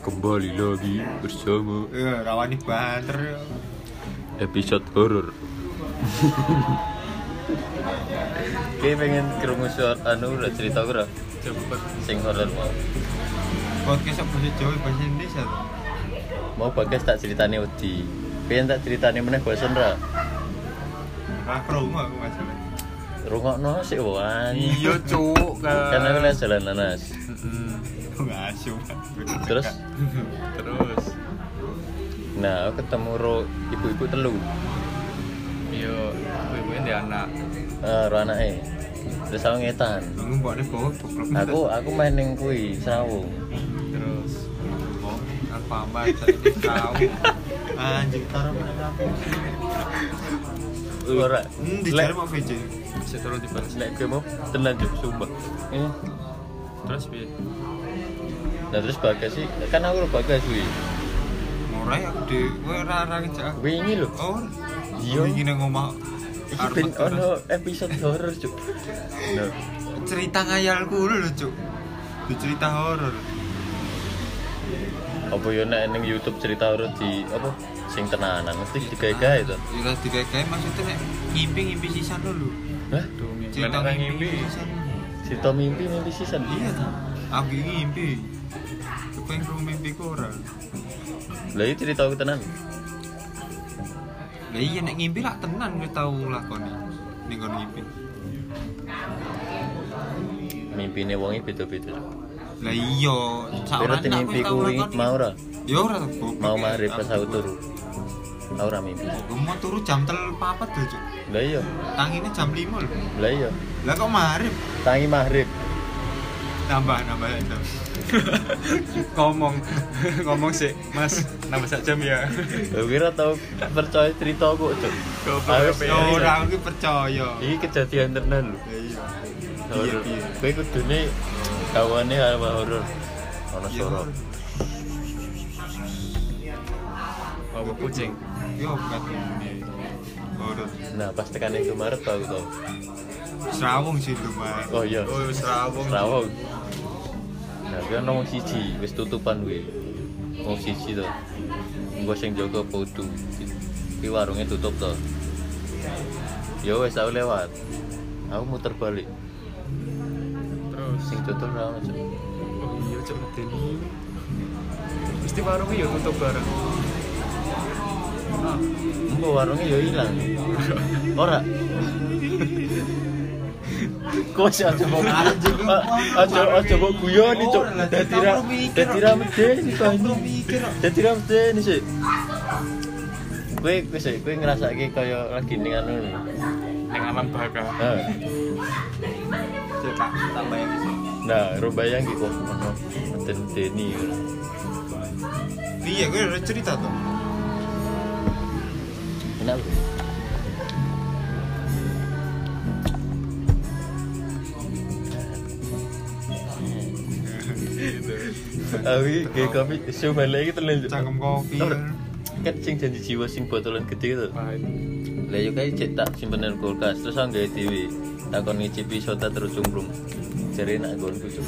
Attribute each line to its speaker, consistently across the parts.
Speaker 1: Kembali lagi bersama
Speaker 2: Eh, rawani banter.
Speaker 1: episode horor.
Speaker 3: Kayak pengen kerungu suara anu udah cerita gue
Speaker 2: Coba
Speaker 3: Sing horor mau
Speaker 2: podcast apa sih Jawa bahasa Indonesia tuh.
Speaker 3: Mau bagas tak ceritane Udi Pengen tak ceritane meneh bosen ra
Speaker 2: Nah, kerungu aku masalah.
Speaker 3: Rungokno sik wani
Speaker 1: Iya, cuk.
Speaker 3: Kan aku lihat jalan nanas
Speaker 2: Aku nggak asyik.
Speaker 3: Terus
Speaker 1: Terus
Speaker 3: Nah aku ketemu ro ibu-ibu telu
Speaker 1: iya, ibu-ibu ini anak.
Speaker 3: Eh, Ro anake Terus aku ngetan
Speaker 2: Aku bawa nih bawa goblok.
Speaker 3: Aku aku main ning kui Serawung
Speaker 1: Terus oh, apa amat saya ini tahu.
Speaker 2: anjing taruh mana kamu?
Speaker 3: Ora
Speaker 2: Hmm,
Speaker 3: Lek
Speaker 2: dicari mau VJ.
Speaker 1: Bisa turun di bus.
Speaker 3: Lek gue mau tenan juk sumpah
Speaker 1: Eh?
Speaker 3: Iya
Speaker 1: Terus piye?
Speaker 3: Nah terus bagas sih Kan aku ro bagas wih
Speaker 2: Murah ya aku di gue rara ngejak aku.
Speaker 3: Wingi lho
Speaker 2: Oh,
Speaker 3: Iya.
Speaker 2: Iki nang omah.
Speaker 3: Iki
Speaker 2: Arep
Speaker 3: ben oh,
Speaker 2: metu,
Speaker 3: ono episode horor cuk. Lho,
Speaker 2: Nas. cerita ngayalku lho Cuk. Di cerita horor.
Speaker 3: apa yo nek ning YouTube cerita horor di apa sing tenanan mesti digawe-gawe to.
Speaker 2: Jelas digawe maksudnya nek ngimpi-ngimpi sisan dulu.
Speaker 3: Hah?
Speaker 2: Cerita
Speaker 1: Nek
Speaker 2: ngimpi.
Speaker 1: ngimpi.
Speaker 2: sisan.
Speaker 3: Cerita mimpi mimpi sisan.
Speaker 2: Iya ta. Aku iki ngimpi. Kepeng rum mimpiku ora.
Speaker 3: Lah iki cerita aku tenan.
Speaker 2: Lah iya nek ngimpi lak tenan wis tau lakoni. Ning kon ngimpi.
Speaker 3: Mimpine wong iki beda-beda. Cuk.
Speaker 2: Lah iya,
Speaker 3: Berarti
Speaker 2: aku
Speaker 3: mimpi
Speaker 2: wis tau
Speaker 3: kuwi
Speaker 2: lakoni.
Speaker 3: mau ora?
Speaker 2: Ya ora ta, goblok.
Speaker 3: Mau
Speaker 2: Ya,
Speaker 3: mari pas aku
Speaker 2: gua-
Speaker 3: turu. Aku ora mimpi.
Speaker 2: Gua Mau turu jam 3.00 lho, Cuk.
Speaker 3: Lah iya,
Speaker 2: Tanginnya jam 5 lho.
Speaker 3: lah iya.
Speaker 2: Lah kok marip?
Speaker 3: Tangi maghrib.
Speaker 2: Tambah nambah nambah.
Speaker 1: Ngomong, ngomong sih, Mas. Nambah sak jam ya.
Speaker 3: Lah kira tau percaya cerita aku cuk.
Speaker 1: Goblok,
Speaker 3: Aku
Speaker 1: Iya,
Speaker 2: Ya
Speaker 1: iya.
Speaker 2: ora aku ki percaya.
Speaker 3: Iki kejadian tenan lho.
Speaker 2: Ya iya. Iya,
Speaker 3: horor.
Speaker 2: iya.
Speaker 3: Kowe kudune kawane hal horor. Ono
Speaker 2: Iya,
Speaker 3: suara.
Speaker 2: horor.
Speaker 1: Iya. Apa kucing? Iya,
Speaker 2: Ya bukan ini. Horor.
Speaker 3: Nah, pas tekan itu Maret tau tau.
Speaker 2: Serawung sih lumayan.
Speaker 3: Oh iya,
Speaker 1: Oh, serawung.
Speaker 3: Rawong. Nah, kuwi ono wong siji wis tutupan kuwi. Wong siji to. Engko sing jaga podo. Kuwi warunge tutup to. Ya wis aku lewat. Aku muter balik.
Speaker 1: Terus
Speaker 3: Sing tutup ra ono. Cuk.
Speaker 1: oh iya cuk medeni. Mesti warungnya ya tutup bareng. Nah,
Speaker 3: Engko warunge ya ilang. Ora. Kok sih aja mau aja aja mau guyon iki, Cuk.
Speaker 2: Ora lah,
Speaker 3: Dadi ra
Speaker 2: kamu mikir,
Speaker 3: dadi ra medeni to
Speaker 2: Aku mikir
Speaker 3: Dadi ra medeni sih. Kowe kowe sih kowe ngrasake kaya lagi ning anu.
Speaker 1: yang alam bakar.
Speaker 3: Nah,
Speaker 2: cetak tambah yang bisa.
Speaker 3: nah ro bayang iki kok ono meden-medeni.
Speaker 2: Iya, gue udah cerita tuh.
Speaker 3: Enak. lho. Awi ge kopi iso balik iki telan. Cuk.
Speaker 2: Cangkem kopi.
Speaker 3: Tau gak? kan sing janji jiwa sing botolan gede itu lah yuk aja cek tak simpenan kulkas terus aku nggak dewi tak kon ngicipi sota terus cungkrung jadi nak gon kucuk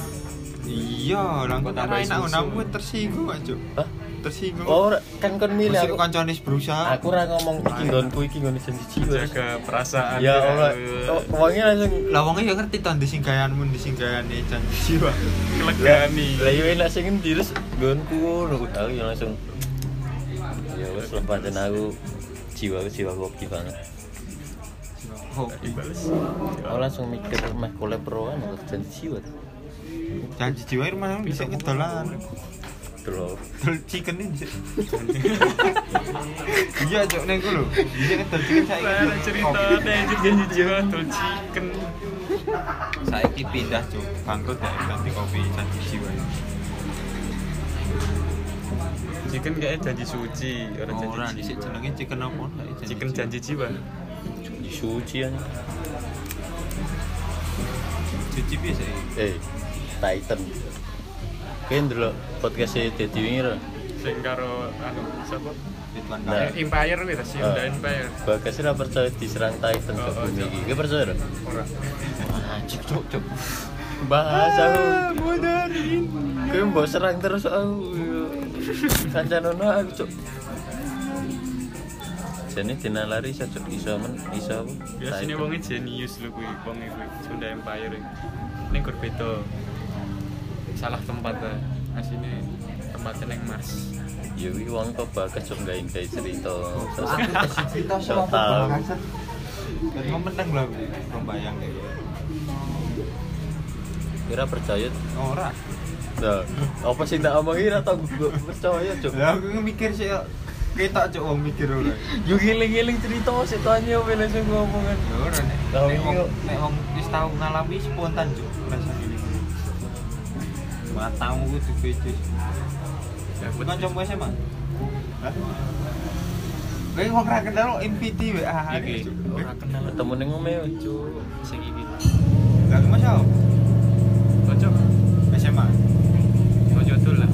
Speaker 2: Iya, lah kok tak
Speaker 1: Tambah
Speaker 2: enak
Speaker 1: susu.
Speaker 2: namu tersinggung aja.
Speaker 3: Hah?
Speaker 2: Tersinggung.
Speaker 3: oh ora- kan kon milih
Speaker 2: Masih
Speaker 3: aku
Speaker 2: kancane berusaha.
Speaker 3: aku ora ngomong iki gonku iki gon janji jiwa
Speaker 1: Jaga perasaan.
Speaker 3: ya ora
Speaker 1: Oh,
Speaker 3: wongnya langsung
Speaker 2: Lah wong ya ngerti to disinggayanmu disinggayane jan jiwa.
Speaker 1: kelegani.
Speaker 3: lah yuk enak sing endi terus gonku nunggu aku ya langsung ya wes lepasin aku jiwa jiwa kopi banget
Speaker 2: Jiwa Kopi.
Speaker 1: Dibales.
Speaker 3: aku Oh, langsung mikir meh kolek peroan aku janji jiwa
Speaker 2: Jan jiwa rumah bisa ngedolan.
Speaker 3: dulu
Speaker 2: Dol chicken ini. Cuk. Iya, Cuk, ning ku lho. Bisa ngedol chicken saiki.
Speaker 1: Lah cerita deh janji jiwa tuh chicken.
Speaker 2: Saiki pindah, Cuk. Bangkrut ya ganti kopi jan jiwa.
Speaker 1: Chicken kayaknya janji suci, orang
Speaker 2: Ora
Speaker 1: janji
Speaker 2: dhisik
Speaker 1: jiwa.
Speaker 2: jenenge chicken apa? saiki Jan
Speaker 1: Chicken
Speaker 2: Jiwa.
Speaker 1: janji jiwa.
Speaker 3: suci aja
Speaker 2: Cuci piye saiki?
Speaker 3: eh Titan kalian dulu podcast Teddy Winger
Speaker 1: Sing karo anu siapa?
Speaker 2: Ridwan
Speaker 3: Nah.
Speaker 2: Kamil.
Speaker 1: Eh, Empire wis sih,
Speaker 3: Ah.
Speaker 1: udah Empire.
Speaker 3: Bagas lah percaya diserang Titan ke
Speaker 1: ya? Oh, oh,
Speaker 3: bumi
Speaker 1: cok.
Speaker 2: Ah,
Speaker 3: ini Kau percaya lho?
Speaker 1: Ora.
Speaker 3: Wah, cok cok cok bahas aku
Speaker 1: Modar
Speaker 3: kowe Ah. mbok serang terus aku kancanono aku cuk jane dina lari iso iso men iso apa?
Speaker 1: Biasanya wongnya jenius lho kuwi, wongnya kuwi Sunda Empire. Ini kur beda. Salah tempat ta. Asine tempatnya neng Mars.
Speaker 3: ya wi wong kok bakal cuk gawe gawe cerita Sos-
Speaker 2: Aku kasih cerita
Speaker 3: Soal-
Speaker 2: soal bangsat. Gak mau menang lah aku, membayang kayak gitu.
Speaker 3: kira percaya
Speaker 2: Ora.
Speaker 3: nah, apa sih Iya, tak omongi ra tau gua percaya cuk
Speaker 2: Lah aku kan mikir sih kita cok wong mikir ora.
Speaker 3: yo ngiling-ngiling cerita sik tanya apa langsung ngomongan
Speaker 2: Ya ora nek.
Speaker 3: Lah,
Speaker 2: Nek wong
Speaker 3: iya.
Speaker 2: nek wong wis tau ngalami spontan cok rasa ngene. Matamu kudu becus.
Speaker 1: Dapet.
Speaker 2: Bukan cuma SMA. Hah? Kowe wong ra kenal MPT WA.
Speaker 1: Iki ora kenal
Speaker 3: ketemu ning omah cuk
Speaker 1: sing iki.
Speaker 2: Lah aku mas apa?
Speaker 1: Cocok.
Speaker 2: SMA.
Speaker 1: Cocok tuh lah.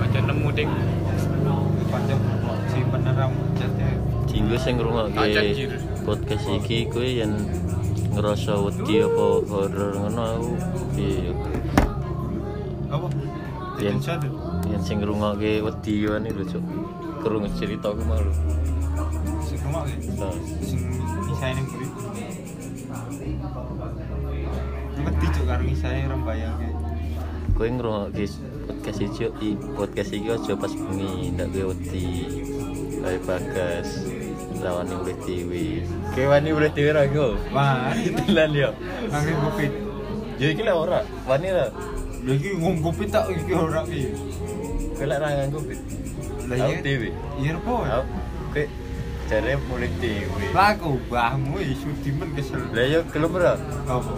Speaker 1: Kanca nemu ding.
Speaker 2: Pancen si penerang chat ya.
Speaker 3: Jinggo sing ngrungokke
Speaker 1: Kacang jir.
Speaker 3: podcast iki kowe yen ngerasa wedi apa horor ngono aku piye yo.
Speaker 2: Apa?
Speaker 3: Yen
Speaker 2: Tidak sadar.
Speaker 3: yen sing ngrungokke wedi yo ane lho cuk. Krungu ceritaku mau lho.
Speaker 2: Sing rumah ya.
Speaker 3: Nah,
Speaker 2: sing ngisahin yang beri mati cok karo ngisahin orang bayang kayak
Speaker 3: Kowe ngrungokke podcast iki yo, i podcast iki aja pas bengi ndak kowe wedi. Kayak bagas lawan urip dewe. Kewani urip dewe ra go.
Speaker 2: wah
Speaker 3: Telan yo.
Speaker 2: kangen covid
Speaker 3: Yo iki lah ora, wani lah.
Speaker 2: lagi ngomong covid tak iki orang iki
Speaker 3: Kowe lek ra nganggo Aku dewe.
Speaker 2: iya apa ya
Speaker 3: Oke, cari mulut dewi.
Speaker 2: laku bahmu isu dimen kesel
Speaker 3: Lah yo kelem ora
Speaker 2: apa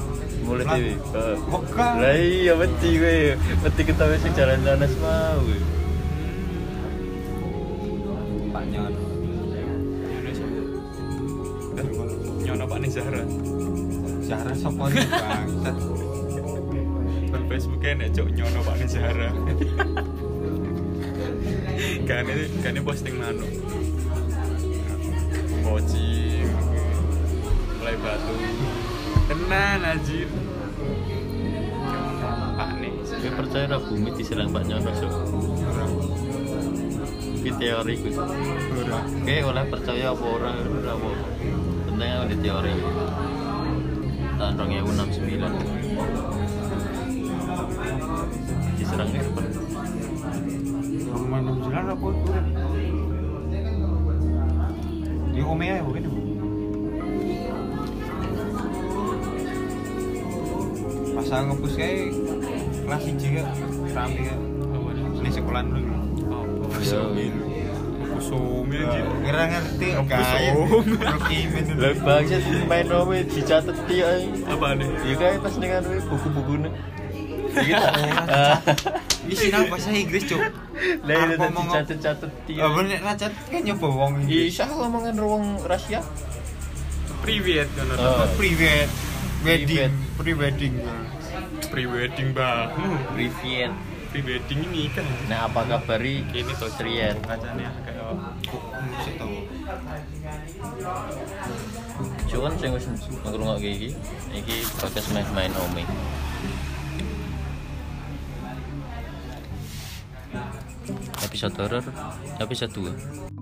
Speaker 3: mulut
Speaker 2: Lah,
Speaker 3: dewi. Heeh.
Speaker 2: Wekah.
Speaker 3: Lah iya mati kowe. Mati ketawa sing jalan lah, nanas mau. kowe.
Speaker 2: pak nyon
Speaker 1: Nyono sapa? Nyono Pak Nezara.
Speaker 2: Zahra sopo nih bangsat
Speaker 1: Nang Facebook e nek cok nyono Pak Nezara. Kane kane posting nano. Bocing. Mulai batu. Tenan anjir. Pak nih.
Speaker 3: Kowe percaya lah ra bumi diserang Pak Nyono sok.
Speaker 2: orang
Speaker 3: Ki lah, teori ku.
Speaker 2: orang
Speaker 3: Oke, oleh percaya apa ora ora apa. Penting aku di teori. Tahun 2069. Diserangnya kapan?
Speaker 2: orang main enam jalan apa orang di omea ya bukan masa ngepus kayak kelas siji juga rame ya
Speaker 1: Apa nih?
Speaker 2: ini sekolah dulu
Speaker 1: Apa?
Speaker 3: Yo.
Speaker 1: Kusumi anjir.
Speaker 2: kira ngerti
Speaker 1: Ngepus
Speaker 2: kayak
Speaker 1: om.
Speaker 2: rokimin
Speaker 3: Lah bangsat main rame dicatet tiyo ae.
Speaker 1: Apa nih?
Speaker 3: Ya kae pas ning anu buku-bukune. Iya Eh, Iki
Speaker 1: Iya,
Speaker 2: ini sinau bahasa Inggris cok
Speaker 3: Lah
Speaker 2: Apa
Speaker 3: itu
Speaker 2: ngomong-
Speaker 3: dicatet-catet tiyo.
Speaker 1: Oh,
Speaker 2: Apa nek racat kan nyoba wong Inggris
Speaker 3: Isa ngomongan ruang rahasia.
Speaker 1: Privet ngono.
Speaker 3: Oh.
Speaker 2: pre wedding
Speaker 3: Pre-wed.
Speaker 2: pre-wedding
Speaker 1: Pre-wedding, Mbak.
Speaker 3: Rivian.
Speaker 1: Pre-wedding ini kan.
Speaker 3: Nah, apa kabar
Speaker 1: Ini tuh
Speaker 3: Rian? Nah,
Speaker 1: kacanya agak
Speaker 2: kok musik tau
Speaker 3: Cuman sing wis ngrungokke iki, iki bakas main-main Omi. Episode horor, episode 2